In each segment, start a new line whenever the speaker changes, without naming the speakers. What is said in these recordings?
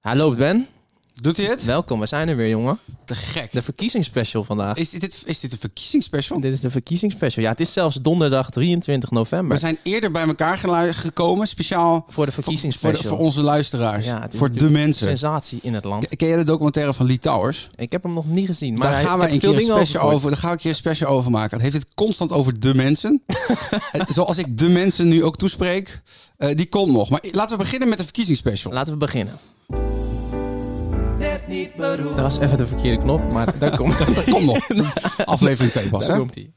Hallo Ben,
Doet hij het?
welkom. We zijn er weer, jongen.
Te gek.
De verkiezingsspecial vandaag.
Is dit, is dit een verkiezingsspecial?
Dit is de verkiezingsspecial. Ja, het is zelfs donderdag 23
We
november
zijn eerder bij elkaar gelu- gekomen, speciaal
voor de
voor, voor,
verkiezingsspecial.
de- voor onze luisteraars.
Ja, het is
voor de
natuurlijk
mensen.
Een sensatie in het land.
Ken- Ken jij de documentaire van Lee Towers?
Ik heb hem nog niet gezien, maar
daar
hij-
gaan
ik
we
heb
een
veel
keer een
dingen over.
special over, daar ga ik een keer een special over maken. Het heeft het constant over de mensen. Eh, Zoals ik de mensen nu ook toespreek, eh, die komt nog. Maar i- laten we beginnen met de verkiezingsspecial.
Laten we beginnen. Dat was even de verkeerde knop, maar daar komt
Dat komt nog. Aflevering 2 pas, hè?
Daar komt-ie.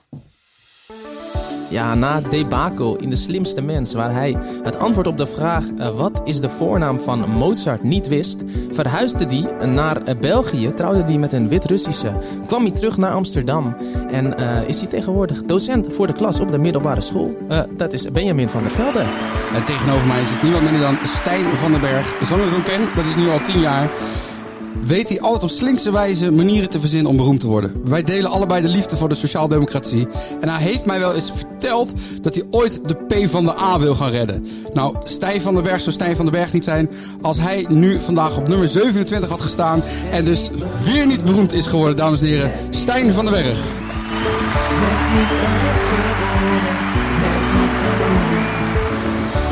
Ja, na het debacle in De Slimste Mens, waar hij het antwoord op de vraag eh, wat is de voornaam van Mozart niet wist, verhuisde hij naar eh, België, trouwde hij met een Wit-Russische, kwam hij terug naar Amsterdam en eh, is hij tegenwoordig docent voor de klas op de middelbare school. Eh, dat is Benjamin van der Velde.
En tegenover mij zit niemand minder dan Stijn van den Berg. Zolang ik hem ken, dat is nu al tien jaar, weet hij altijd op slinkse wijze manieren te verzinnen om beroemd te worden. Wij delen allebei de liefde voor de sociaaldemocratie. En hij heeft mij wel eens verteld dat hij ooit de P van de A wil gaan redden. Nou, Stijn van den Berg zou Stijn van den Berg niet zijn als hij nu vandaag op nummer 27 had gestaan. En dus weer niet beroemd is geworden, dames en heren. Stijn van den Berg.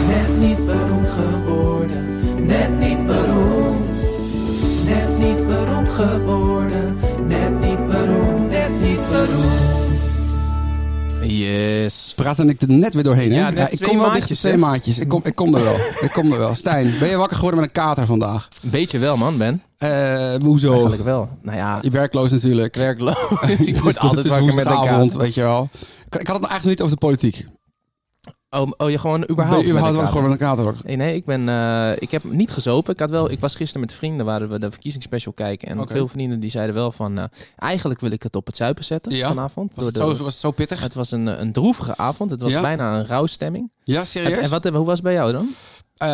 Net niet beroemd geworden, net niet beroemd. Net niet beroemd geworden, net niet beroemd, net niet beroemd.
Yes.
Praat dan ik er net weer doorheen, hè?
Ja, net
ik
twee
kom wel dicht
maatjes,
twee
hè?
maatjes. Ik kom, ik kom er wel. ik kom er wel. Stijn, ben je wakker geworden met een kater vandaag?
Beetje wel, man, Ben.
Eh, hoezo?
Eigenlijk wel. Nou ja,
Je werkloos natuurlijk.
werkloos. ik
Het
word
is- het
altijd
is
wakker met een
woensdagavond,
kater.
weet je wel. Ik, ik had het nou eigenlijk niet over de politiek.
Oh, oh, je gewoon überhaupt
ben je
met een
überhaupt wel
kater.
gewoon met een kater wakker?
Nee, nee, ik ben, eh, ik heb niet gezopen. Ik had wel, ik was gisteren met vrienden, waren we de verkiezingsspecial kijken en
Oké.
veel vrienden die zeiden wel van, eh, eigenlijk wil ik het op het zuipen zetten
Ja?
vanavond.
Was het,
Door
zo,
de-
was het zo pittig?
het was een, eh, een droevige avond. Het was
Ja?
bijna een rouwstemming.
Ja,
En,
serieus?
en wat, hoe was het bij jou dan?
Eh,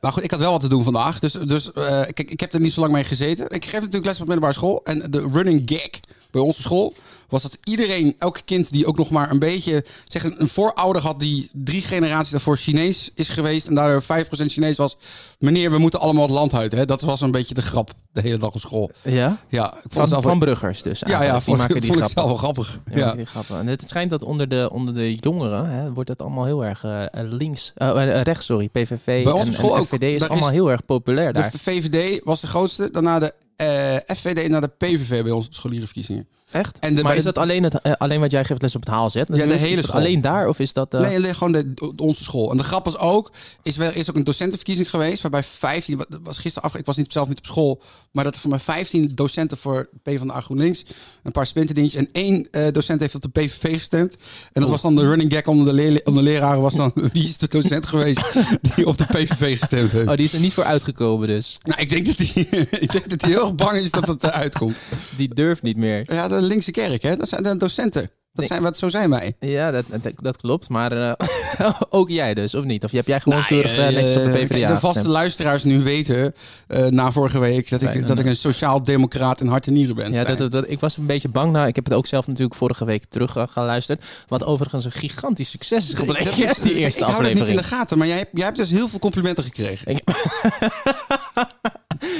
nou goed, ik had wel wat te doen vandaag. Dus, dus eh, kijk, ik heb er niet zo lang mee gezeten. Ik geef natuurlijk les op middelbare school. En de running gag bij onze school was dat iedereen, elk kind die ook nog maar een beetje... Zeg, een, een voorouder had die drie generaties daarvoor Chinees is geweest... en daardoor 5% Chinees was... Meneer, we moeten allemaal het land uit. Hè? Dat was een beetje de grap de hele dag op school.
Ja?
Ja, ik vond het
Van,
zelf
van Bruggers dus.
Ja,
eigenlijk.
ja,
Die
vond,
maken
ik,
die
vond ik
grappen.
zelf wel grappig.
Ja,
Ja.
maken die grappen. En het schijnt dat onder de, onder de jongeren hè, wordt dat allemaal heel erg eh, links, eh, eh, rechts, sorry, PVV
Bij ons
en,
op school
en
ook.
FVD is
Daar
allemaal
is-
heel erg populair daar.
De VVD was de grootste. Daarna de eh, FVD en daarna de PVV bij ons op scholierenverkiezingen.
Echt?
En de-
maar
bij
is
de-
dat alleen, het, eh, alleen wat jij geeft les op het haalzet? natuurlijk?
hele
is dat
school.
alleen daar of is dat... eh,
Nee, alleen gewoon de, de- onze school. En de grap was ook, is wel- er is ook een docentenverkiezing geweest, waarbij 15, wa- dat was gisteren af, ik was niet, zelf niet op school, maar dat er van mijn 15 docenten voor PvdA GroenLinks, een paar spinterdingetjes en één eh, docent heeft op de PVV gestemd. En dat was dan de running gag onder de, leerli- onder de leraren, was dan wie is de docent geweest die op de PVV gestemd heeft.
Oh, die is er niet voor uitgekomen dus.
Nou, ik denk dat hij ik denk dat hij heel erg bang is dat het eruit komt.
Die durft niet meer.
Ja, de linkse kerk, hè? Dat zijn de docenten. Dat
Nee.
zijn, wat, zo zijn wij.
Ja, dat, dat, dat klopt. Maar eh, ook jij dus, of niet? Of heb jij gewoon keurig eh,
Nee,
netjes op de
eh,
PvdA
kijk, de vaste
gestemd?
luisteraars nu weten, eh, na vorige week, dat ik,
Nee, nee,
dat ik
nee.
een sociaal-democraat in hart en nieren ben.
Ja, dat,
Stijn.
dat- dat- ik was een beetje bang. Nou, ik heb het ook zelf natuurlijk vorige week terug eh, geluisterd. Wat overigens een gigantisch succes is
Ik-
gebleken,
dat is-
die
ik-
eerste
ik hou dat niet in
aflevering.
de gaten, maar jij, hebt- jij hebt dus heel veel complimenten gekregen.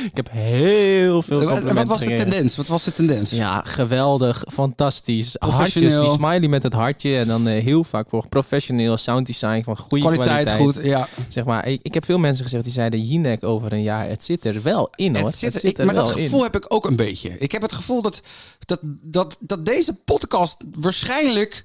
Ik heb heel veel
En Eh, wat-
complimenten
en wat was de
gekregen.
tendens? Wat was de tendens?
Ja, geweldig, fantastisch. Hartjes,
Professioneel.
die smiley met het hartje. En dan eh, heel vaak voor professioneel sound design van goede kwaliteit.
Kwaliteit, goed, ja.
Zeg maar, ik, ik heb veel mensen gezegd die zeiden... Jinek over een jaar, het zit er wel in hoor.
Het zit,
Nou, het
ik- maar dat
wel in.
gevoel heb ik ook een beetje. Ik heb het gevoel dat, dat, dat, dat deze podcast waarschijnlijk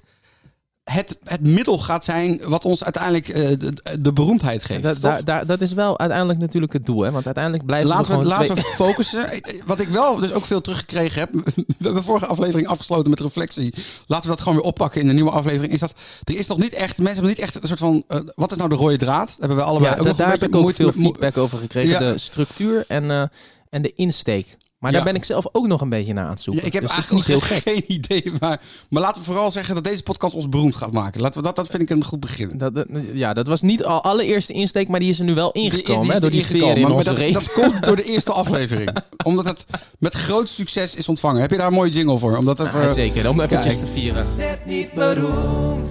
het, het middel gaat zijn wat ons uiteindelijk eh, de, de beroemdheid geeft.
Dat,
toch?
daar- daar- dat is wel uiteindelijk natuurlijk het doel. Hè? Want uiteindelijk blijven we
Laten we,
gewoon
laten
twee-
we focussen. Wat ik wel dus ook veel teruggekregen heb. We hebben vorige aflevering afgesloten met reflectie. Laten we dat gewoon weer oppakken in de nieuwe aflevering. Is dat er is nog niet echt. Mensen hebben niet echt een soort van. eh, wat is nou de rode draad? Dat hebben we allebei.
Ja,
ook
da-
nog
daar
een
heb ik
beetje
ook
moeite
veel
met- mo-
feedback over gekregen.
Ja.
De structuur en, eh, en de insteek. Maar
Ja.
daar ben ik zelf ook nog een beetje naar aan het zoeken.
Ja, ik heb
Dus dat is
eigenlijk
niet heel gek.
geen idee. Maar, maar laten we vooral zeggen dat deze podcast ons beroemd gaat maken. Laten we dat, dat vind ik een goed begin.
Dat, dat- ja, dat was niet al allereerste insteek, maar die is er nu wel
Die is-
ingekomen.
die is
hè, door die
ingekomen,
veren in
maar
onze
dat,
reet.
dat komt door de eerste aflevering. Omdat het met groot succes is ontvangen. Heb je daar een mooie jingle voor? Omdat er
Ja, zeker, om eventjes
Kijk.
te vieren.
Net niet beroemd,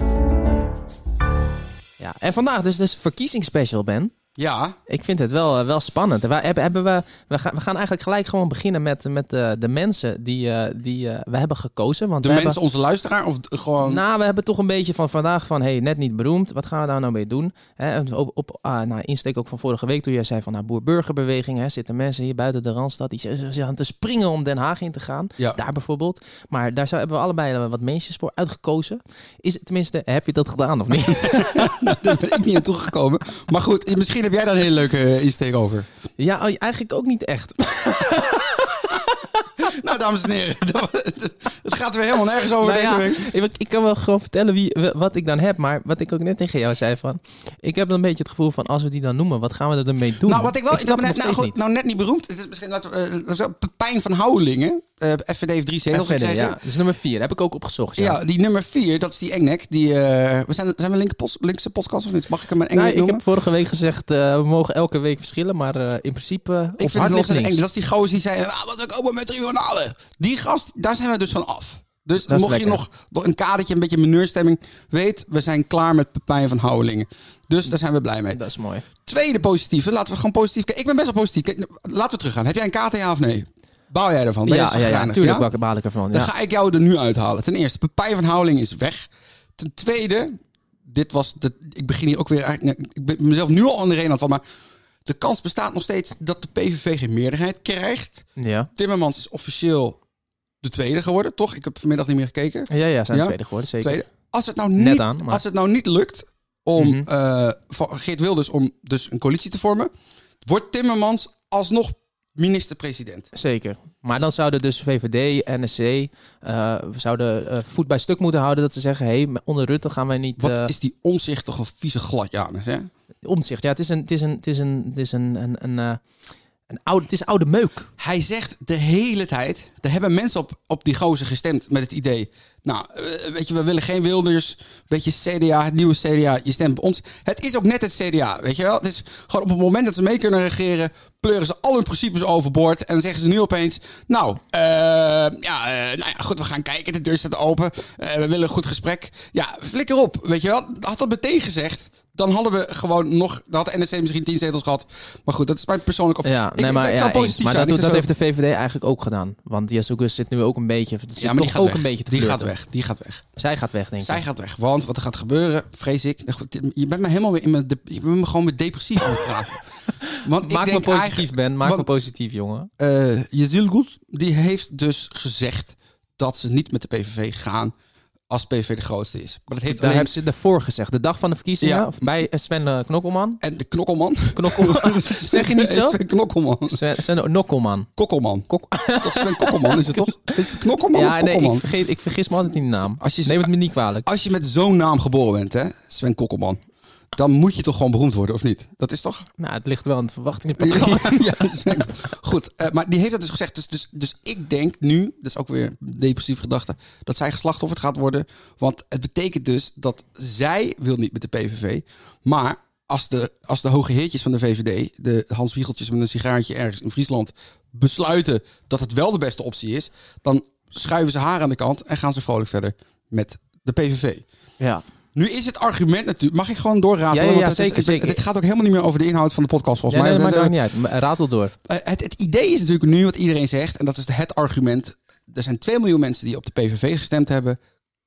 Ja. En vandaag dus, dus verkiezingsspecial, Ben.
Ja,
Ik vind het wel, eh, wel spannend. We, hebben, hebben we, we, gaan, we gaan eigenlijk gelijk gewoon beginnen met, met eh, de mensen die, eh, die eh, we hebben gekozen. Want
de
we
mensen,
hebben,
onze luisteraar of d- gewoon...
nou, we hebben toch een beetje van vandaag van, hey, net niet beroemd. Wat gaan we daar nou mee doen? Hè, en op op ah, nou, insteek ook van vorige week toen jij zei van, nou, boer-burgerbeweging. hè, Zitten mensen hier buiten de Randstad, die zijn- zijn aan te springen om Den Haag in te gaan.
Ja.
Daar bijvoorbeeld. Maar daar zou, hebben we allebei eh, wat mensen voor uitgekozen. Is het tenminste, heb je dat gedaan of niet?
Daar ben ik niet naartoe gekomen. Maar goed, misschien heb jij daar een hele leuke eh, insteek over.
ja, oh, eigenlijk ook niet echt.
Nou, dames en heren, dat- het gaat weer helemaal nergens over
Nou
Oh, deze
ja,
week.
Ik, ik kan wel gewoon vertellen wie, w- wat ik dan heb, maar wat ik ook net tegen jou zei van, ik heb dan een beetje het gevoel van als we die dan noemen, wat gaan we er dan mee doen?
Nou, wat ik wel...
snap het
nou,
nog
nou,
steeds
goed,
niet.
nou, net niet beroemd. Het is misschien... Laten we, eh, laten we zeggen, Pepijn van Houwelingen. eh FVD heeft drie zetels
FVD,
gekregen.
ja, dat is nummer vier. Heb ik ook opgezocht. Ja.
Ja, die nummer vier, dat is die engnek. Die, eh, we zijn, zijn we linker pos- linkse podcast of niet? Mag ik hem een engnek
Nou, ik
noemen?
heb vorige week gezegd, eh, we mogen elke week verschillen, maar eh, in principe ik
Ik vind het los een eng. Dat is die gozer die zei, ah, wat ik open met tribunalen. Die gast, daar zijn we dus van af. Dus
Dat is
mocht je
lekker.
nog door een kadertje, een beetje meneurstemming, weet, we zijn klaar met Pepijn van Houwelingen. Dus daar zijn we blij mee.
Dat is mooi.
Tweede positieve, laten we gewoon positief kijken. Ik ben best wel positief. Kijk, nou, laten we teruggaan. Heb jij een KTA of nee? Bouw jij ervan? Ben je
ja, ja, ja,
chagrijnig?
natuurlijk
Ja?
ja? baal ik ervan.
Dan
Ja.
ga ik jou er nu uithalen. Ten eerste, Pepijn van Houweling is weg. Ten tweede, dit was de, ik begin hier ook weer. eigenlijk- nee, Ik ben mezelf nu al aan de reden aan het van, maar de kans bestaat nog steeds dat de PVV geen meerderheid krijgt.
Ja.
Timmermans is officieel de tweede geworden, toch? Ik heb vanmiddag niet meer gekeken.
Ja, ja, zijn
Ja?
tweede geworden, zeker.
Tweede. Als het nou
Net
niet,
aan, maar-
als het nou niet lukt om
Mhm.
eh, van Geert Wilders om dus een coalitie te vormen, wordt Timmermans alsnog minister-president.
Zeker. Maar dan zouden dus VVD, NSC, eh, we zouden eh, voet bij stuk moeten houden dat ze zeggen, hé, hey, onder Rutte gaan wij niet...
Wat
eh,
is die omzichtige vieze gladjanus, hè?
Omzicht, ja, het is een, het is een, het is een, het is een, een, een, eh, een oude, het is oude meuk.
Hij zegt de hele tijd. Er hebben mensen op, op die gozer gestemd met het idee. Nou, eh, weet je, we willen geen Wilders. Beetje CDA, het nieuwe CDA. Je stemt op ons. Het is ook net het CDA, weet je wel? Het is gewoon op het moment dat ze mee kunnen regeren. pleuren ze al hun principes overboord. En dan zeggen ze nu opeens. Nou, eh, ja, eh, nou ja, goed, we gaan kijken. De deur staat open. Eh, we willen een goed gesprek. Ja, flikker op, weet je wel? Had dat meteen gezegd. Dan hadden we gewoon nog. Dan had de NSC misschien tien zetels gehad. Maar goed, dat is mijn persoonlijke. of-
Ja,
Ik-
nee,
ik-
maar,
ik
ja,
zou
eens.
positief
maar
zijn.
dat,
Ik
doet-
zou
dat
zo-
heeft de VVD eigenlijk ook gedaan. Want Jasoekus zit nu ook een beetje, het zit
Ja, maar die
toch
gaat
ook
weg.
een beetje te
Die gaat
flirten.
weg. Die gaat weg.
Zij gaat weg, denk ik.
Zij gaat weg. Want wat er gaat gebeuren, vrees ik. nou goed, Je bent me helemaal weer in mijn. dep- Je bent me gewoon weer depressief aan het praten. Want
Maak me
ik denk
positief,
eigenlijk-
Ben. Maak
want-
me positief, jongen.
eh Jezilgoed, die heeft dus gezegd dat ze niet met de PVV gaan als PVV de grootste is. Maar dat heeft
Daar
alleen...
hebben ze daarvoor gezegd. De dag van de verkiezingen,
Ja.
of bij eh, Sven eh, Knokkelman.
En de knokkelman.
Knokkelman. zeg je niet zo?
Sven knokkelman.
Sven, Sven Knokkelman.
Kokkelman.
Kok-
Toch Sven Kokkelman is het toch? Is het Oh, knokkelman of
ja, nee,
kokkelman?
ik, vergeet, ik vergis me altijd in de naam.
Als je-
Neem het me niet kwalijk.
Als je met zo'n naam geboren bent, hè, Sven Kokkelman, dan moet je toch gewoon beroemd worden, of niet? Dat is toch?
Nou, het ligt wel aan het verwachtingspatroon.
Ja, ja, Sven. Goed, eh, maar die heeft dat dus gezegd. Dus, dus, dus ik denk nu, dat is ook weer een depressieve gedachte, dat zij geslachtofferd gaat worden. Want het betekent dus dat zij wil niet met de PVV. Maar als de, als de hoge heertjes van de VVD, de Hans Wiegeltjes met een sigaartje ergens in Friesland, besluiten dat het wel de beste optie is, dan schuiven ze haar aan de kant en gaan ze vrolijk verder met de PVV.
ja.
Nu is het argument natuurlijk. Mag ik gewoon doorraten?
Ja, ja,
hoor,
ja,
het is-
zeker,
het-
zeker.
Dit gaat ook helemaal niet meer over de inhoud van de podcast,
Ja,
volgens
nee,
mij.
dat maakt
Eh,
ook niet uit. Maar, eh, Ratel door.
eh, het, het idee is natuurlijk nu wat iedereen zegt, en dat is het argument. Er zijn 2 miljoen mensen die op de PVV gestemd hebben.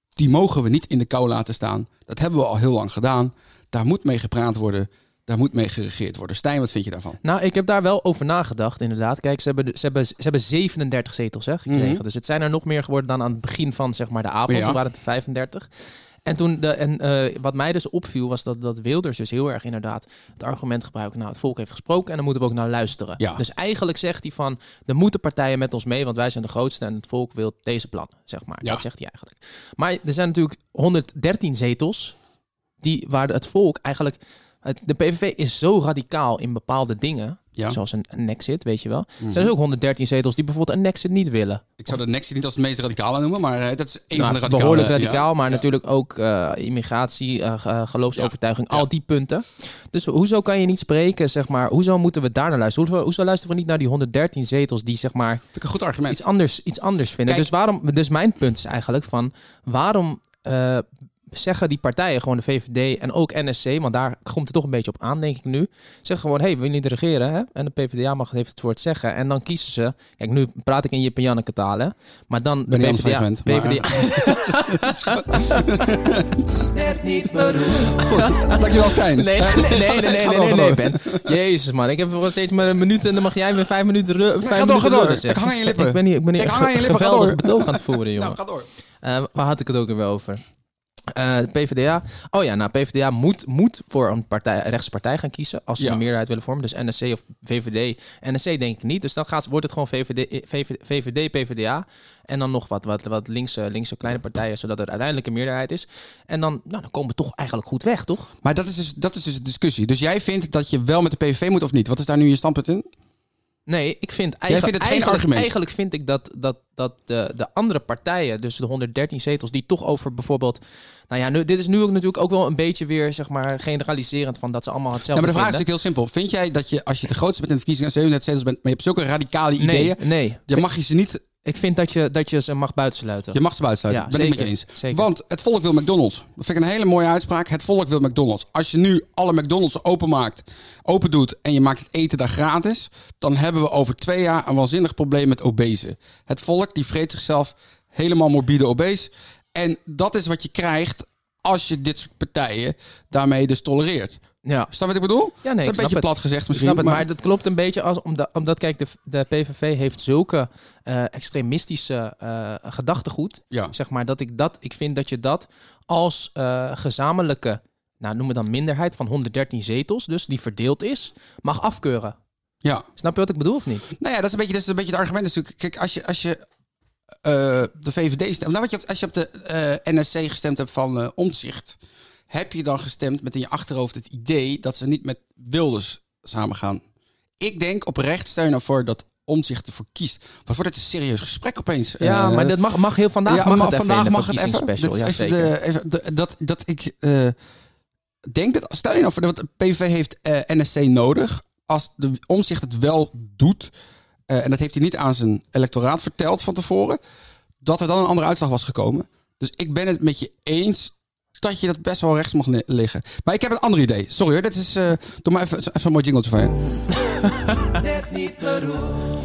Die mogen we niet in de kou laten staan. Dat hebben we al heel lang gedaan. Daar moet mee gepraat worden. Daar moet mee geregeerd worden. Stijn, wat vind je daarvan?
Nou, ik heb daar wel over nagedacht, inderdaad. Kijk, ze hebben, de- ze hebben, ze hebben 37 zetels hè, gekregen.
Mhm.
Dus het zijn er nog meer geworden dan aan het begin van zeg maar, de avond.
Ja.
Toen waren het er 35. En, toen de, en eh, wat mij dus opviel was dat, dat Wilders dus heel erg inderdaad het argument gebruikt. Nou, het volk heeft gesproken en dan moeten we ook naar luisteren.
Ja.
Dus eigenlijk zegt hij van, er moeten partijen met ons mee, want wij zijn de grootste en het volk wil deze plan, zeg maar.
Ja.
Dat zegt hij eigenlijk. Maar er zijn natuurlijk 113 zetels die, waar het volk eigenlijk... het- de PVV is zo radicaal in bepaalde dingen
Ja. Mhm.
zoals een, een Nexit, weet je wel. Er zijn dus ook 113 zetels die bijvoorbeeld een Nexit niet willen.
Ik zou de Nexie niet als het meest radicale noemen, maar eh, dat is een
Nou,
van de radicale.
behoorlijk
ja.
radicaal, maar natuurlijk ook eh, immigratie, eh, ge- eh, geloofsovertuiging,
Ja.
al die punten. Dus hoezo kan je niet spreken, zeg maar, hoezo moeten we daar naar luisteren? Hoezo, hoezo luisteren we niet naar die 113 zetels die, zeg maar,
Vind ik een goed argument.
iets anders, iets anders vinden?
Kijk-
Dus, waarom, dus mijn punt is eigenlijk van, waarom eh, zeggen die partijen, gewoon de VVD en ook NSC, want daar komt het toch een beetje op aan, denk ik nu. Zeggen gewoon, hé, hey, we willen niet regeren, hè? En de PvdA mag heeft het woord zeggen. En dan kiezen ze... Kijk, nu praat ik in Jip en Janneke taal, hè? Maar dan de
ben niet aan het
PvdA...
fragment, maar-
net niet beroemd.
Goed, dankjewel Stijn.
Nee,
Eh,
nee, nee, nee, nee,
Ga
nee,
door,
nee,
ga door.
Ben. Jezus, man. Ik heb nog steeds maar een minuut en dan mag jij weer vijf minuten ru- vijf
ga door,
minuten
ga door.
lullen, zeg.
Ik hang aan je lippen.
Ik ben hier, ik ben hier
Ik
echt
hang aan je lippen, ga
geweldig
door.
betoog aan het voeren, jongen.
Nou, ga door.
Eh, waar had ik het ook weer over? Eh, PvdA. Oh ja, nou, PvdA moet, moet voor een partij, een rechtse partij gaan kiezen. Als ze
Ja.
een meerderheid willen vormen. Dus NSC of VVD. NSC denk ik niet. Dus dan gaat, wordt het gewoon VVD, VVD, PvdA. En dan nog wat, wat, wat linkse, linkse kleine partijen. Zodat er uiteindelijk een meerderheid is. En dan, nou, dan komen we toch eigenlijk goed weg, toch?
Maar dat is, dus, dat is dus de discussie. Dus jij vindt dat je wel met de PVV moet of niet? Wat is daar nu je standpunt in?
Nee, ik vind eigenlijk,
vindt het geen
eigenlijk,
argument?
eigenlijk vind ik dat, dat, dat de, de andere partijen, dus de 113 zetels, die toch over bijvoorbeeld. Nou ja, nu, dit is nu ook natuurlijk ook wel een beetje weer, zeg maar, generaliserend van dat ze allemaal
Nou,
hetzelfde.
maar de vraag is
vinden.
natuurlijk heel simpel. Vind jij dat je, als je de grootste bent in de verkiezingen en 37 zetels bent, maar je hebt zulke radicale ideeën,
Nee, nee.
dan mag je ze niet,
Ik vind dat je, dat je ze mag buitensluiten.
je mag ze buitensluiten.
Ja,
ben ik met je
zeker,
eens.
zeker.
Want het volk wil McDonald's. Dat vind ik een hele mooie uitspraak. Het volk wil McDonald's. Als je nu alle McDonald's openmaakt, open doet en je maakt het eten daar gratis, dan hebben we over twee jaar een waanzinnig probleem met obese. Het volk die vreet zichzelf helemaal morbide obese. En dat is wat je krijgt als je dit soort partijen daarmee dus tolereert.
Ja.
Snap je wat ik bedoel?
Ja, nee,
dat is
ik
een
snap
beetje
het.
plat gezegd
Ik
misschien.
snap het, maar, dat klopt een beetje als, omdat, omdat kijk, de, de PVV heeft zulke eh, extremistische eh, gedachtegoed.
Ja.
Zeg maar dat ik dat, ik vind dat je dat als eh, gezamenlijke, nou noem het dan minderheid van 113 zetels, dus die verdeeld is, mag afkeuren.
Ja.
Snap je wat ik bedoel of niet?
Nou ja, dat is een beetje, dat is een beetje het argument natuurlijk. Kijk, als je, als je eh, de VVD stemt... Nou, wat je, op- als je op de eh, NSC gestemd hebt van eh Omtzigt... heb je dan gestemd met in je achterhoofd het idee... dat ze niet met Wilders samengaan. Ik denk oprecht, stel je nou voor dat Omtzigt ervoor kiest. Wat wordt het een serieus gesprek opeens?
Ja,
eh,
maar dat mag, mag heel vandaag.
ja,
mag
maar
het even in
vandaag
de
mag het even.
verkiezingsspecial,
Dit is
ja,
even
zeker.
de- even de- dat, dat ik eh, denk dat, stel je nou voor, want de PV heeft eh, NSC nodig. Als de omzicht het wel doet, eh, en dat heeft hij niet aan zijn electoraat verteld van tevoren, dat er dan een andere uitslag was gekomen. Dus ik ben het met je eens dat je dat best wel rechts mag li- liggen. Maar ik heb een ander idee. Sorry hoor, dit is, eh, doe maar even, even een mooi jingletje van je.
Net niet beroemd.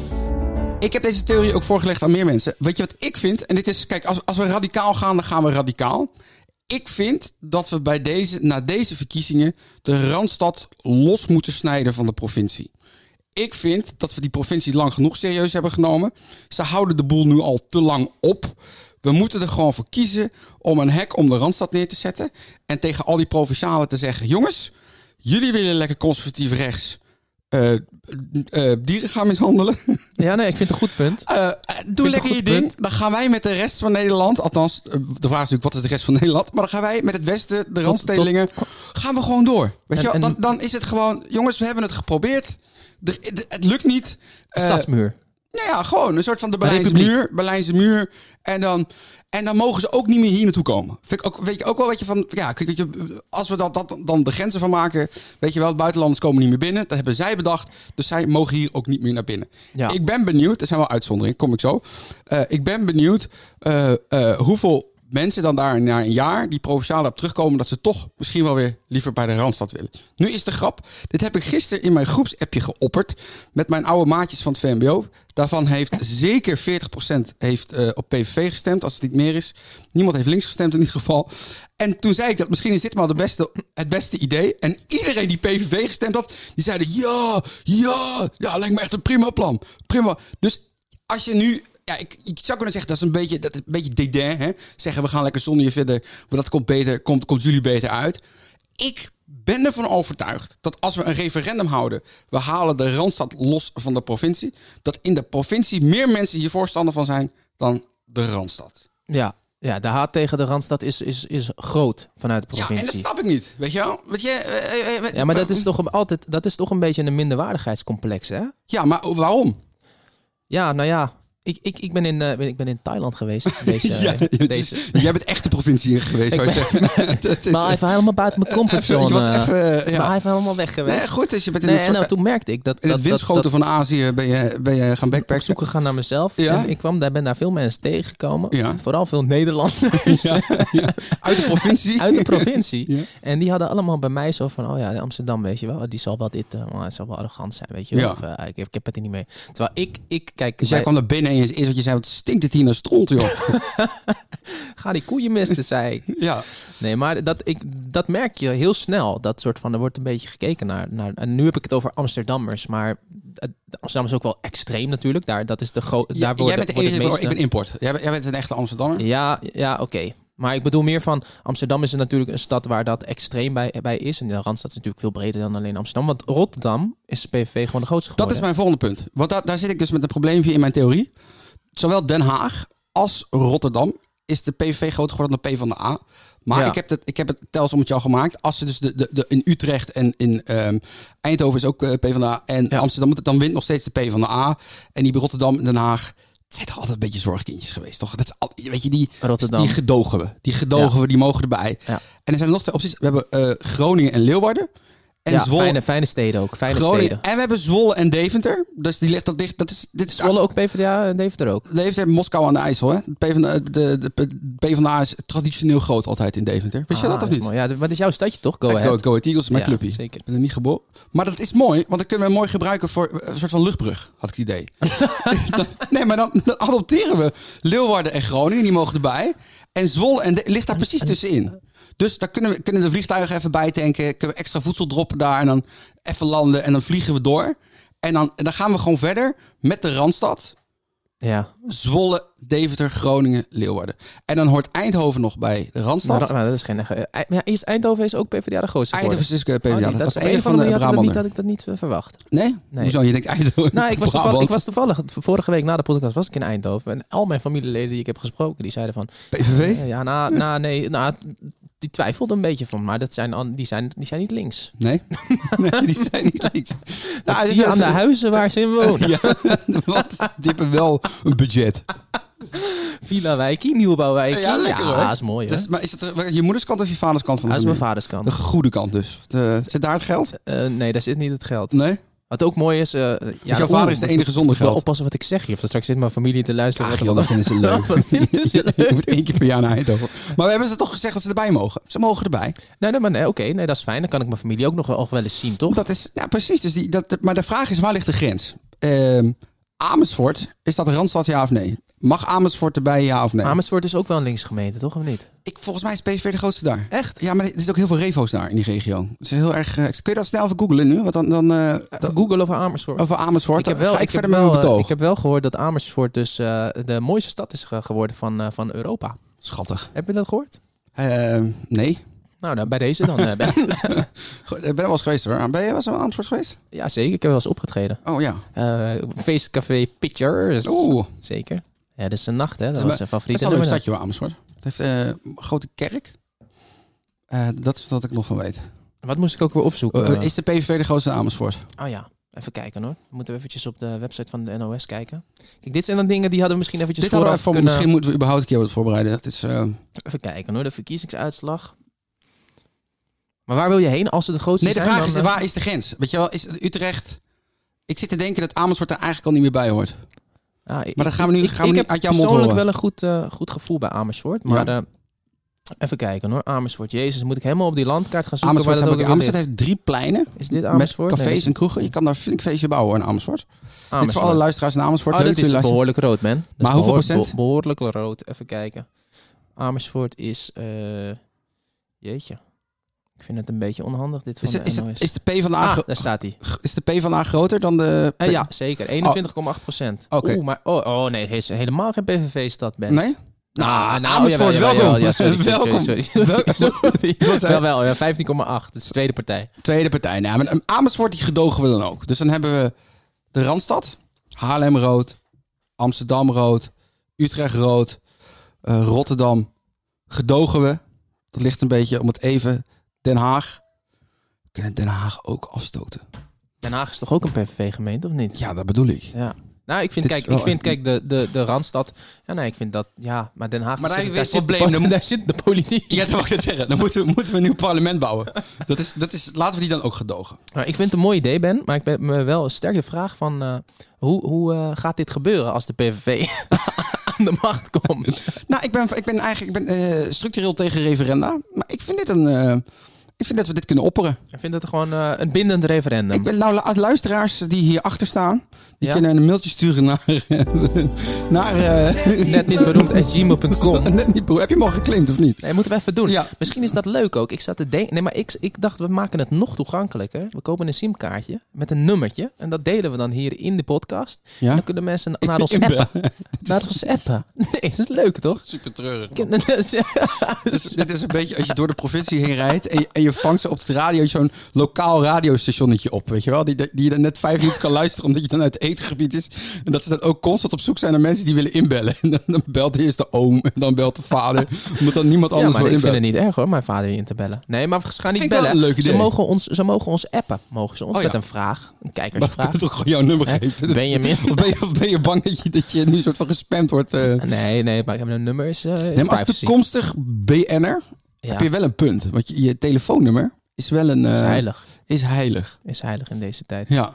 Ik heb deze theorie ook voorgelegd aan meer mensen. Weet je wat ik vind? En dit is, kijk, als, als we radicaal gaan, dan gaan we radicaal. Ik vind dat we bij deze, na deze verkiezingen de Randstad los moeten snijden van de provincie. Ik vind dat we die provincie lang genoeg serieus hebben genomen. Ze houden de boel nu al te lang op. We moeten er gewoon voor kiezen om een hek om de Randstad neer te zetten. En tegen al die provincialen te zeggen... jongens, jullie willen lekker conservatief rechts eh, eh, dieren gaan mishandelen.
Ja, nee, ik vind het een goed punt.
Eh, eh, doe
een
lekker
goed
je ding.
punt.
Dan gaan wij met de rest van Nederland, althans, eh, de vraag is natuurlijk wat is de rest van Nederland, maar dan gaan wij met het Westen, de Randstedelingen, gaan we gewoon door.
En-
Weet je wel?
en-
Dan, dan is het gewoon, jongens, we hebben het geprobeerd. Er- de- het lukt niet. Eh,
Stadsmuur.
nou ja, gewoon een soort van de Berlijnse
Republiek.
muur. Berlijnse muur. En dan, en dan mogen ze ook niet meer hier naartoe komen. Vind ik ook, weet je ook wel, weet je, van, ja, kijk, weet je, als we dat, dat dan de grenzen van maken, weet je wel, buitenlanders komen niet meer binnen. Dat hebben zij bedacht. Dus zij mogen hier ook niet meer naar binnen.
Ja.
Ik ben benieuwd, er zijn wel uitzonderingen, kom ik zo. Eh, ik ben benieuwd eh, eh, hoeveel mensen dan daar na een jaar die provinciale op terugkomen dat ze toch misschien wel weer liever bij de Randstad willen. Nu is de grap, dit heb ik gisteren in mijn groepsappje geopperd met mijn oude maatjes van het VMBO. Daarvan heeft zeker 40% heeft, eh, op PVV gestemd, als het niet meer is. Niemand heeft links gestemd in ieder geval. En toen zei ik dat misschien is dit maar de beste, het beste idee. En iedereen die PVV gestemd had, die zeiden ja, ja, ja, lijkt me echt een prima plan. Prima. Dus als je nu. Ja, ik, ik zou kunnen zeggen dat is een beetje, dat is een beetje dédain. Hè? Zeggen we gaan lekker zonder je verder. Want dat komt, beter, komt, komt jullie beter uit. Ik ben ervan overtuigd dat als we een referendum houden. We halen de randstad los van de provincie. Dat in de provincie meer mensen hier voorstander van zijn dan de randstad.
Ja. ja, de haat tegen de Randstad is, is, is groot vanuit de
Ja,
provincie.
en dat snap ik niet. Weet je wel? Weet je, eh, eh, eh,
Ja, maar dat is toch een- altijd dat is toch een beetje een minderwaardigheidscomplex, hè?
Ja, maar waarom?
Ja, nou ja. Ik, ik, ik, ben in, eh, ben- ik ben in Thailand geweest. Deze,
ja, het is-
deze.
Jij bent echt de provincie in geweest, zou je zeggen. Het is- eh,
Maar even helemaal buiten mijn
even-
comfortzone.
Je was even... eh, ja.
Maar even helemaal weg geweest.
Nee, goed, dus je bent in,
Nee,
een
en
soort-
nou, toen merkte ik dat...
in
dat,
het windschoten
dat,
van Azië ben je, ben je gaan
dat, op
backpacken.
zoek gegaan naar mezelf.
Ja.
En ik kwam daar, ben daar veel mensen tegengekomen.
Ja.
Vooral veel Nederlanders
Ja, ja. Uit de provincie.
uit de provincie.
Ja.
En die hadden allemaal bij mij zo van... Oh ja, Amsterdam, weet je wel. Die zal wel dit... eh, oh, hij zal wel arrogant zijn, weet je wel.
Ja.
Of, eh, ik, heb- ik heb het er niet mee. Terwijl ik... ik kijk,
Dus jij
bij-
kwam naar binnen en je- eerst wat je zei, wat stinkt het hier naar stront, joh.
Ga die koeien misten, zei ik.
ja.
Nee, maar dat, ik, dat merk je heel snel. Dat soort van, er wordt een beetje gekeken naar, naar... En nu heb ik het over Amsterdammers, maar... eh, Amsterdam is ook wel extreem natuurlijk. Daar, dat is de gro-
Ja,
daar worden,
jij bent de
wordt
enige,
het meeste...
ik ben import. Jij, bent- jij bent een echte Amsterdammer.
Ja, ja oké. Maar ik bedoel meer van, Amsterdam is natuurlijk een stad waar dat extreem bij, bij is. En de Randstad is natuurlijk veel breder dan alleen Amsterdam. Want Rotterdam is de PVV gewoon de grootste
Dat
geworden.
is mijn volgende punt. Want daar daar zit ik dus met een probleempje in mijn theorie. Zowel Den Haag als Rotterdam is de PVV groter geworden dan de P van de A. Maar
Ja.
ik, heb het, ik heb het telsommetje al gemaakt. Als ze dus de, de, de, in Utrecht en in ehm, Eindhoven is ook eh, P van de A. En
Ja.
Amsterdam, dan wint nog steeds de P van de A. En die bij Rotterdam en Den Haag. Het zijn toch altijd een beetje zorgkindjes geweest, toch? Dat is al, weet je, die,
Rotterdam.
die gedogen we. Die gedogen we, die mogen erbij.
Ja.
En er zijn er nog twee opties. We hebben eh, Groningen en Leeuwarden. En
ja,
Zwolle
fijne, fijne steden ook. Fijne
Groningen.
steden.
En we hebben Zwolle en Deventer. Dus die ligt dat dicht. Dat is, dit is
Zwolle ook PvdA en Deventer ook.
Deventer, Moskou aan de IJssel. Hè? De, P van de, de, de, de P van de A is traditioneel groot altijd in Deventer. Wist je
Ah,
dat of
is
niet?
mooi. Ja, d- maar het is jouw stadje toch? Go
Ja,
ahead.
Eh, Go, Go Ahead Eagles, mijn
Ja,
clubje.
zeker.
Ik ben er niet geboren. Maar dat is mooi, want dan kunnen we hem mooi gebruiken voor eh, een soort van luchtbrug, had ik het idee. Dan- nee, maar dan, dan adopteren we Leeuwarden en Groningen, die mogen erbij. En Zwolle en de- ligt daar precies tussenin. Dus daar kunnen, we, kunnen de vliegtuigen even bij tanken. Kunnen we extra voedsel droppen daar en dan even landen en dan vliegen we door. En dan, en dan gaan we gewoon verder met de Randstad.
Ja,
Zwolle, Deventer, Groningen, Leeuwarden. En dan hoort Eindhoven nog bij de Randstad.
nou, dat- nou, dat is geen... eh, eh, Ja, eerst Eindhoven is ook PvdA de grootste geworden.
Eindhoven is PvdA.
Oh, nee,
dat, was
op
de
een
enige
of
van
andere
de
manier had ik dat niet-
Brabander.
had ik dat niet eh, verwacht.
Nee?
Nee.
Hoezo? Je denkt Eindhoven.
Nou, ik was, toevallig,
Brabant.
ik was toevallig, vorige week na de podcast was ik in Eindhoven. En al mijn familieleden die ik heb gesproken, die zeiden van... eh,
PVV?
Ja, na, na, nee, na, die twijfelde een beetje van, maar dat zijn, an- die, zijn, die zijn niet links.
Nee? nee, die zijn niet links.
Dat
ze
zie je aan de huizen waar ze in wonen.
Ja, want die hebben wel een budget.
Villa Wijkie, Nieuwbouwwijkie.
Ja, lekker, hoor.
is mooi hoor.
Dus, maar is dat je moederskant of je vaderskant van de
Dat is mijn
familie?
vaders kant.
De goede kant dus. De- zit daar het geld?
Eh, nee, daar zit niet het geld.
Nee?
Wat ook mooi is... eh, ja,
Want jouw vader is de
oeh,
enige zonder
Ik moet wel
geld.
oppassen wat ik zeg hier. Of dat straks zit mijn familie te luisteren.
Ach
wat-
joh, dat vinden ze leuk.
Wat vinden ze
Oh, Je
leuk?
moet één keer per jaar naar Eindhoven. Maar we hebben ze toch gezegd dat ze erbij mogen? Ze mogen erbij.
Nee, nee, maar nee, oké. nee, dat is fijn. Dan kan ik mijn familie ook nog wel, ook wel eens zien, toch?
Dat is, ja, precies. Dus die, dat, dat- maar de vraag is, waar ligt de grens? Ehm, Amersfoort, is dat Randstad ja of nee? Mag Amersfoort erbij ja of nee?
Amersfoort is ook wel een linksgemeente, toch? Of niet?
Ik, volgens mij is PSV de grootste daar.
Echt?
Ja, maar er zitten ook heel veel revo's daar in die regio. Het is heel erg, eh, kun je dat snel even googlen nu? Want dan, dan eh,
Google over Amersfoort.
over Amersfoort.
Ik heb wel,
Ga ik,
ik
verder
heb wel,
met mijn
eh,
betoog.
Ik heb wel gehoord dat Amersfoort dus eh, de mooiste stad is ge- geworden van, eh, van Europa.
Schattig.
Heb je dat gehoord?
Eh, nee.
Nou, nou bij deze dan. eh, ben-
Goed, Ik ben er wel eens geweest hoor. Ah, Ben je wel eens in Amersfoort geweest?
ja, zeker. Ik heb wel eens opgetreden.
Oh ja.
Eh, feestcafé Pictures.
Oeh.
Zeker. Ja, dat is een nacht, hè. Dat
maar-
was een
Het is
favoriete
wel een leuk
nummer.
stadje hoor, Amersfoort. Het heeft eh, een grote kerk. Eh, dat is wat ik nog van weet.
Wat moest ik ook weer opzoeken?
Eh, is de PVV de grootste in Amersfoort?
Oh ja, even kijken hoor. We moeten eventjes op de website van de NOS kijken. Kijk, dit zijn dan dingen die hadden we misschien eventjes
Dit hadden we
vooraf
even,
kunnen...
Misschien moeten we überhaupt een keer wat voorbereiden. Dat is, eh,
Even kijken hoor, de verkiezingsuitslag. Maar waar wil je heen als ze de grootste
Nee, de
zijn?
vraag is,
dan, eh,
waar is de grens? Weet je wel, is Utrecht... Ik zit te denken dat Amersfoort er eigenlijk al niet meer bij hoort.
Ja, eh, ah, ik-
Maar dat gaan we nu-
ik,
gaan we nu
ik
uit jouw
heb
mond
persoonlijk
horen.
wel een goed, eh, goed gevoel bij Amersfoort. Maar eh, even kijken hoor. Amersfoort. Jezus, moet ik helemaal op die landkaart gaan zoeken?
Amersfoort,
waar dat
heb ik-
ook weer
Amersfoort heeft drie pleinen
ligt? Is dit Amersfoort?
met
Nee,
cafés
dit
en kroegen. Je kan daar een flink feestje bouwen in Amersfoort.
is
Dit is voor alle
Amersfoort.
luisteraars in Amersfoort.
Oh,
Leuk
dat is
jullie luisteren.
behoorlijk rood, man. Dat is
Maar hoeveel
behoor-
procent?
be- Behoorlijk rood. Even kijken. Amersfoort is... eh, jeetje. Ik vind het een beetje onhandig, dit van
Is, het-
de
is, het-
NOS.
is de P van de A,
ah,
gro-
daar staat hij.
is de P van de A groter dan de...
Eh, ja, zeker. 21,8 procent.
Oh. Oké.
Oeh, maar... Oh, oh nee, hij is helemaal geen PVV-stad, man.
Nee? Nou,
jawel,
Amersfoort,
jawel,
welkom.
jawel. Ja, sorry, sorry,
welkom.
sorry, sorry, sorry,
Wel-
sorry.
Wat zei-
Wel, wel, ja, 15,8. Dat is de tweede partij.
Tweede partij. Nou, maar Amersfoort die gedogen we dan ook. Dus dan hebben we de Randstad. Haarlem rood. Amsterdam rood. Utrecht rood. eh, Rotterdam gedogen we. Dat ligt een beetje om het even. Den Haag. We kunnen Den Haag ook afstoten.
Den Haag is toch ook een PVV-gemeente, of niet?
Ja, dat bedoel ik.
Ja. Nou, ik vind,
Dit is
kijk,
wel
ik vind,
echt-
kijk de, de, de Randstad. Ja, nee, ik vind dat. Ja, maar Den Haag.
Maar daar
zit-
weer
zit de
probleem,
po-
dan-
daar zit de politiek.
Ja, dat mag ik net zeggen. Dan moeten we, moeten we een nieuw parlement bouwen. Dat is, dat is, laten we die dan ook gedogen.
Nou, ik vind het een mooi idee, Ben. Maar ik ben me wel een sterke vraag van... eh, hoe hoe eh, gaat dit gebeuren als de PVV aan de macht komt?
Nou, ik ben, ik ben eigenlijk ik ben, eh, structureel tegen referenda. Maar ik vind dit een. eh, ik vind dat we dit kunnen opperen.
Ik vind het gewoon eh, een bindend referendum.
Ik ben nou lu- luisteraars die hier achter staan. Die
Ja.
kunnen een mailtje sturen naar. naar eh,
Net niet beroemd at gmail.com.
net niet, broer. Heb je hem al geclaimd of niet?
Nee, moeten we even doen.
Ja.
Misschien is dat leuk ook. Ik zat te denken... Nee, maar ik, ik dacht, we maken het nog toegankelijker. We kopen een simkaartje met een nummertje. En dat delen we dan hier in de podcast. En
Ja.
dan kunnen mensen naar ons
Inbellen.
appen. Naar ons appen. Nee, het is leuk, toch?
Super treurig.
Ja,
Dus dit is een beetje als je door de provincie heen rijdt en je, en je vangt ze op het radio zo'n lokaal radiostationnetje op, weet je wel? Die, die je dan net vijf minuten kan luisteren omdat je dan uit het etengebied is. En dat ze dan ook constant op zoek zijn naar mensen die willen inbellen. En dan, dan belt eerst de oom en dan belt de vader, omdat dan niemand anders
maar
wil
ik vind
dus inbellen.
het niet erg hoor, mijn vader in te bellen. Nee, maar ze gaan
Vind
niet
ik wel
bellen.
een leuk
Ze,
idee.
mogen ons, ze mogen ons appen. Mogen ze ons
Oh, ja.
met een vraag, een
Maar ik kan
kijkersvraag.
het ook gewoon jouw nummer
Hè?
geven. Dat is-
Benjamin.
Of ben je, of ben je bang dat je, dat je nu een soort van gespamd wordt? eh?
Nee, nee, maar ik heb een nummer is, eh, is
Nee, maar als
privacy.
toekomstig BN'er
Ja,
heb je wel een punt. Want je, je telefoonnummer is wel een...
is
eh,
heilig.
Is heilig,
Is heilig in deze tijd.
ja.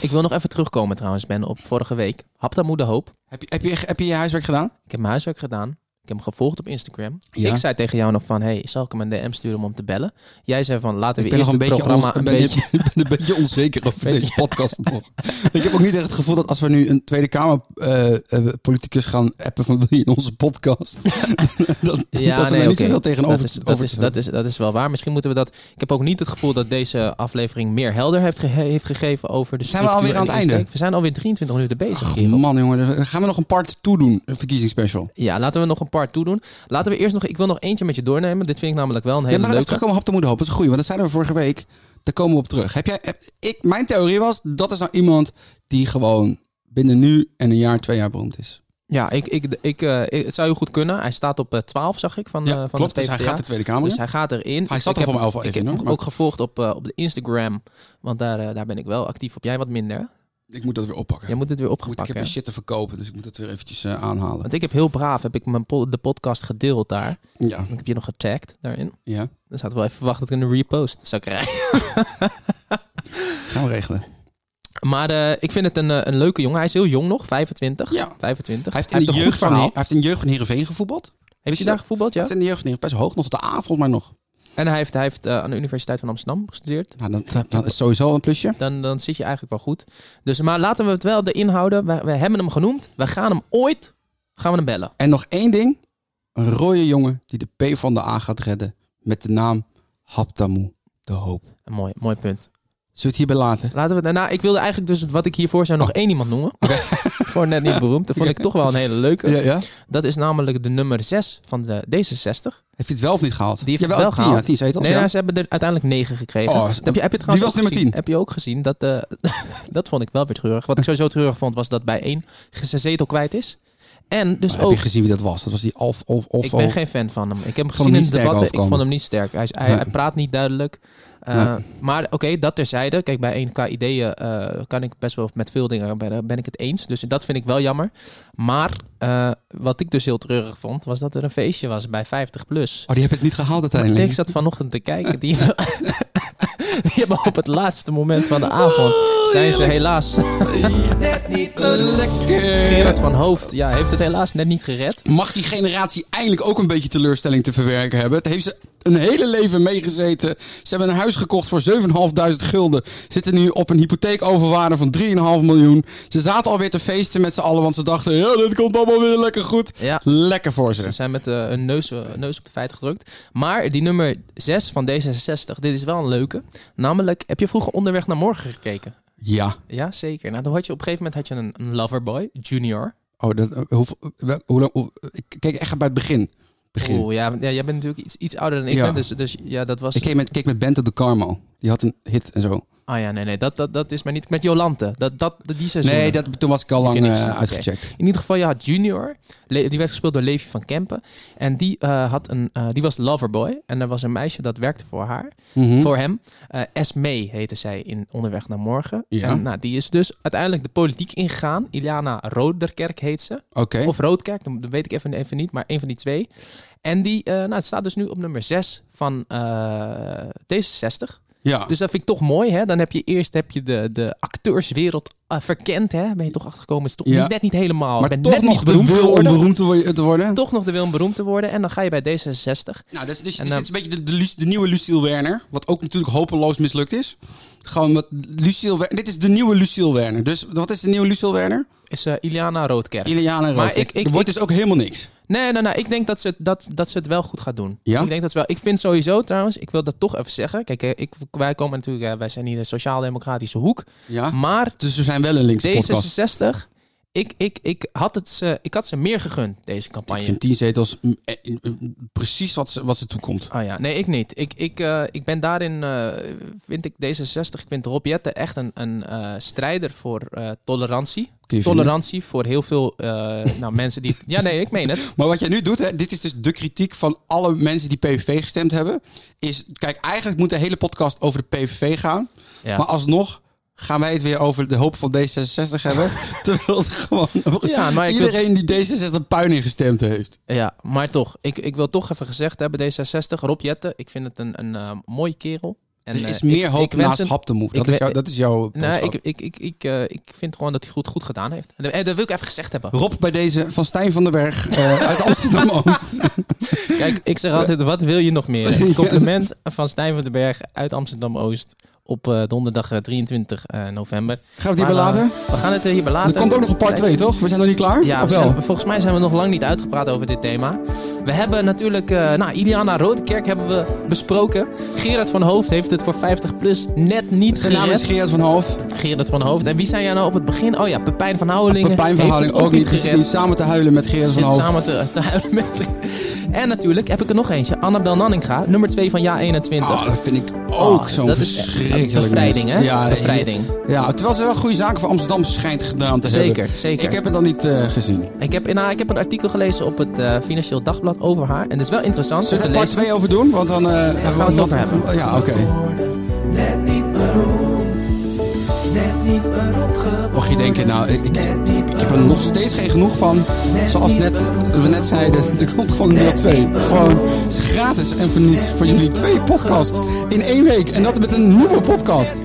Ik wil nog even terugkomen trouwens, Ben, op vorige week. Haptamoe de hoop.
Heb je, heb, je, heb je je huiswerk gedaan?
Ik heb mijn huiswerk gedaan. Ik heb hem gevolgd op Instagram.
Ja.
Ik zei tegen jou nog van, hey, zal ik hem een DM sturen om hem te bellen? Jij zei van, laten we
Ik ben nog
eerst
een
het
beetje,
programma
on-
een
ben,
beetje...
ik ben een beetje onzeker over
Beetje.
deze podcast nog. Ik heb ook niet echt het gevoel dat als we nu een Tweede Kamer eh, eh, politicus gaan appen van wil je in onze podcast, dat, dat we er Dus niet
oké.
zoveel tegenover
dat is, dat,
over
is,
te
dat, is, dat is wel waar. Misschien moeten we dat... Ik heb ook niet het gevoel dat deze aflevering meer helder heeft, ge- heeft gegeven over de
Zijn we
structuur en
alweer aan
de
het einde?
insteek. We zijn alweer 23 minuten bezig,
Ach,
kerel.
man jongen, dan gaan we nog een part toe doen, een verkiezingsspecial.
Ja, laten we nog een part toedoen. Laten we eerst nog... Ik wil nog eentje met je doornemen. Dit vind ik namelijk wel een
Ja,
hele
maar dan even
leuke.
terugkomen op de moederhoop, dat is goed, want dat zeiden we vorige week, daar komen we op terug. Heb jij, heb- ik, mijn theorie was, dat is nou iemand die gewoon binnen nu en een jaar, twee jaar beroemd is.
Ja, ik, ik, ik, eh, ik- het zou heel goed kunnen. Hij staat op eh, 12, zag ik, van,
Ja,
eh, van
klopt,
de
dus hij
PvdA.
gaat de Tweede Kamer in.
Dus hij gaat erin.
Hij
Ik-
zat
ik
er
heb-
voor mij al wel
Ik
even
heb
in,
hem
hoor.
ook gevolgd op, eh, op de Instagram. Want daar, eh, daar ben ik wel actief op. Jij wat minder.
Ik moet dat weer oppakken.
Jij moet dit weer
Moet, ik
opgepakt
heb weer
hebben.
shit te verkopen, dus ik moet dat weer eventjes eh, aanhalen.
Want ik heb heel braaf heb ik mijn po- de podcast gedeeld daar.
Ja,
Ik heb je nog getagd daarin.
ja.
Dan zaten we wel even verwacht dat ik een repost zou krijgen.
Gaan we regelen. Hij
Maar eh, ik vind het een, eh, een leuke jongen. Hij is heel jong nog, 25.
Ja.
25.
heeft, in de
een
jeugd
goed
van,
verhaal.
hij heeft in de jeugd van Heerenveen gevoetbald. Hij
Heeft hij
je
daar
dat?
gevoetbald? Ja.
heeft in de jeugd van Heerenveen best hoog, nog tot de A volgens mij nog.
En hij heeft, hij heeft eh, aan de Universiteit van Amsterdam gestudeerd.
Nou, dan, dan- dan is sowieso een plusje.
Dan, dan zit je eigenlijk wel goed. Dus, maar laten we het wel erin houden. We, we hebben hem genoemd. We gaan hem ooit gaan we hem bellen.
En nog één ding. Een rode jongen die de P van de A gaat redden met de naam Haptamu de Hoop. Zullen
Een mooi, mooi punt.
we het hierbij laten?
Laten we het daarna. Ik wilde eigenlijk dus wat ik hiervoor zou
Oh.
nog één iemand noemen. voor net niet beroemd. Dat vond ik toch wel een hele leuke.
ja.
Dat is namelijk de nummer 6 van de D66.
Heeft hij het wel of niet gehaald?
Die heeft het
Jawel,
wel
tien,
gehaald.
Ja, tien, zei je toch?
Nee,
Ja.
nou, ze hebben er uiteindelijk 9 gekregen.
Oh,
heb, je, heb je het trouwens
was
ook
nummer
gezien?
10?
Heb je ook gezien dat. eh, dat vond ik wel weer treurig. Wat ik sowieso treurig vond was dat bij één zijn zetel kwijt is. En dus
Maar
ook.
Heb je gezien wie dat was? Dat was die Alf of of
Ik ben geen fan van hem. Ik heb hem
hem
gezien in
niet
de
sterk
debatten. Ik
overkomen.
vond hem niet sterk. Hij, is, hij,
Nee.
hij praat niet duidelijk. Uh,
Nee.
Maar oké, dat terzijde. Kijk, bij 1K ideeën eh, kan ik best wel met veel dingen ben, ben ik het eens. Dus dat vind ik wel jammer. Maar eh, wat ik dus heel treurig vond, was dat er een feestje was bij 50 plus.
Oh, die heb het niet gehaald uiteindelijk.
Ik zat vanochtend te kijken. Die, die hebben op het laatste moment van de avond
Oh,
zijn ze helaas.
Net niet
Lekker!
Gerard van Hoofd ja, heeft het helaas net niet gered.
Mag die generatie eindelijk ook een beetje teleurstelling te verwerken hebben? Het heeft ze een hele leven meegezeten. Ze hebben een huis gekocht voor 7.500 gulden. Zitten nu op een hypotheekoverwaarde van 3,5 miljoen. Ze zaten alweer te feesten met z'n allen, want ze dachten... Ja, dit komt allemaal weer lekker goed.
Ja.
Lekker voor
Ze
ze.
zijn met eh, een neus, eh, neus op de feit gedrukt. Maar die nummer 6 van D66, dit is wel een leuke. Namelijk, heb je vroeger onderweg naar morgen gekeken?
Ja.
Ja, zeker. Nou, dan had je op een gegeven moment had je een, een loverboy, junior.
Oh, dat, eh, hoeveel- wel- hoe lang... hoe- ik keek echt bij het begin. begin.
Oeh, ja, ja, jij bent natuurlijk iets, iets ouder dan ik
Ja.
ben, dus, dus ja, dat was...
Ik keek met, keek met Bento de Carmo. Die had een hit en zo.
Ah ja, nee, nee, dat, dat, dat is mij niet. Met Jolante, dat, dat, die seizoen.
Nee, dat, toen was ik al lang
Ken ik ze,
eh,
oké.
uitgecheckt.
In ieder geval, je had Junior. Le- Die werd gespeeld door Levi van Kempen. En die, eh, had een, eh, die was loverboy. En er was een meisje dat werkte voor haar.
Mhm.
Voor hem. Eh Esme heette zij in Onderweg naar Morgen.
Ja.
En nou, die is dus uiteindelijk de politiek ingegaan. Iliana Roderkerk heet ze.
Mhm. Oké.
Of Roodkerk, dat dat weet ik even, even niet. Maar een van die twee. En die eh, nou, het staat dus nu op nummer 6 van eh, D66.
Ja.
Dus dat vind ik toch mooi, hè? Dan heb je eerst heb je de, de acteurswereld eh, verkend, hè? Ben je toch achtergekomen? Is toch
Ja.
niet- net niet helemaal.
maar
ben
toch
net
nog
niet
de
beroemd
wil om
geworden.
beroemd te wo- te worden.
Toch nog de wil om beroemd te worden. En dan ga je bij D66.
Nou, dat is, dus,
En, eh,
dus dit is een beetje de, de, Luc- de nieuwe Lucille Werner. Wat ook natuurlijk hopeloos mislukt is. Gewoon wat Lucille Werner. Dit is de nieuwe Lucille Werner. Dus wat is de nieuwe Lucille Werner?
Is eh, Iliana Roodkerk.
Iliana
Maar
Roodkerk.
ik- ik-
er wordt dus ook helemaal niks.
nee, nee, nee. Ik denk dat ze, het- dat, dat ze het wel goed gaat doen.
Ja?
Ik denk dat ze wel. Ik vind sowieso trouwens, ik wil dat toch even zeggen. Kijk, eh, ik, wij komen natuurlijk, eh, wij zijn hier de sociaal-democratische hoek.
Ja.
Maar
Dus we zijn wel Ah, een linkse podcast.
D66. Ik, ik, ik, had het ze, ik had ze meer gegund, deze campagne.
Ik vind tien zetels mm, eh, eh, precies wat ze, wat ze toekomt.
Ah ja, nee, ik niet. Ik, ik, eh, ik ben daarin, eh, vind ik D66, ik vind Rob Jetten echt een, een eh, strijder voor eh, tolerantie.
Kun je vinden.
Tolerantie voor heel veel eh, nou, mensen die... Ja, nee, ik meen het.
Maar wat jij nu doet, hè, dit is dus de kritiek van alle mensen die PVV gestemd hebben. Is, kijk, eigenlijk moet de hele podcast over de PVV gaan.
Ja.
Maar alsnog gaan wij het weer over de hoop van D66 hebben. terwijl het gewoon
Ja, maar ik wil-
iedereen die D66 puin ingestemd heeft.
ja, maar toch, ik, ik wil toch even gezegd hebben, D66, Rob Jetten, ik vind het een, een eh, mooie kerel. En,
er is
eh,
meer
ik-
hoop
ik wens
naast
hem-
haptemoe.
ik
Dat, is
we-
jou- dat is jouw
Nee,
boodschap.
ik, ik, ik, ik, eh, ik vind gewoon dat hij goed, goed gedaan heeft. En eh, dat- dat wil ik even gezegd hebben.
Rob bij deze van Stijn van den Berg eh, uit Amsterdam-Oost.
Kijk, ik zeg altijd, wat wil je nog meer? Een compliment van Stijn van den Berg uit Amsterdam-Oost op eh, donderdag eh, 23 eh, november.
Gaan we het
Maar,
hier belaten?
eh, we gaan het eh, hierbij laten.
Er komt ook nog een part 2, toch? We zijn nog niet klaar?
Ja,
of
we
wel?
zijn- volgens mij zijn we nog lang niet uitgepraat over dit thema. We hebben natuurlijk, eh, nou, Iliana Roodkerk hebben we besproken. Gerard van Hoofd heeft het voor 50PLUS net niet
Zijn naam is
gered.
Gerard van Half.
Gerard van Hoofd. En wie zijn jij nou op het begin? Oh ja, Pepijn van Houwelingen.
Pepijn van
heeft
Houding
het
ook niet. Dus Die
gered.
zit nu samen te huilen met Gerard
Zit
van Half.
samen te, te huilen met. En natuurlijk heb ik er nog eentje. Annabel Nanninga, nummer 2 van jaar 21.
Oh, dat vind ik ook
Oh,
zo'n
dat is echt
verschrikkelijk
een bevrijding, hè?
mens. Ja, eh,
Bevrijding.
Ja, terwijl ze wel goede zaken voor Amsterdam schijnt gedaan te hebben.
zeker, zeker.
Ik heb het dan niet eh, gezien.
Ik, heb, nou, ik heb een artikel gelezen op het eh, Financieel Dagblad over haar. En dat is wel interessant om
Zullen we
te
er part
lezen.
2 over doen? Want dan eh,
gaan we het
wat-
over hebben.
Ja, oké.
geworden, net niet beroemd, net niet beroemd geworden.
Mocht je denken, nou, ik, ik,
net niet
ik heb er nog steeds geen genoeg van. Zoals net, we net zeiden, er komt gewoon een deel 2. Gewoon het is gratis en voor niets voor jullie twee podcasts in één week. En dat met een nieuwe podcast.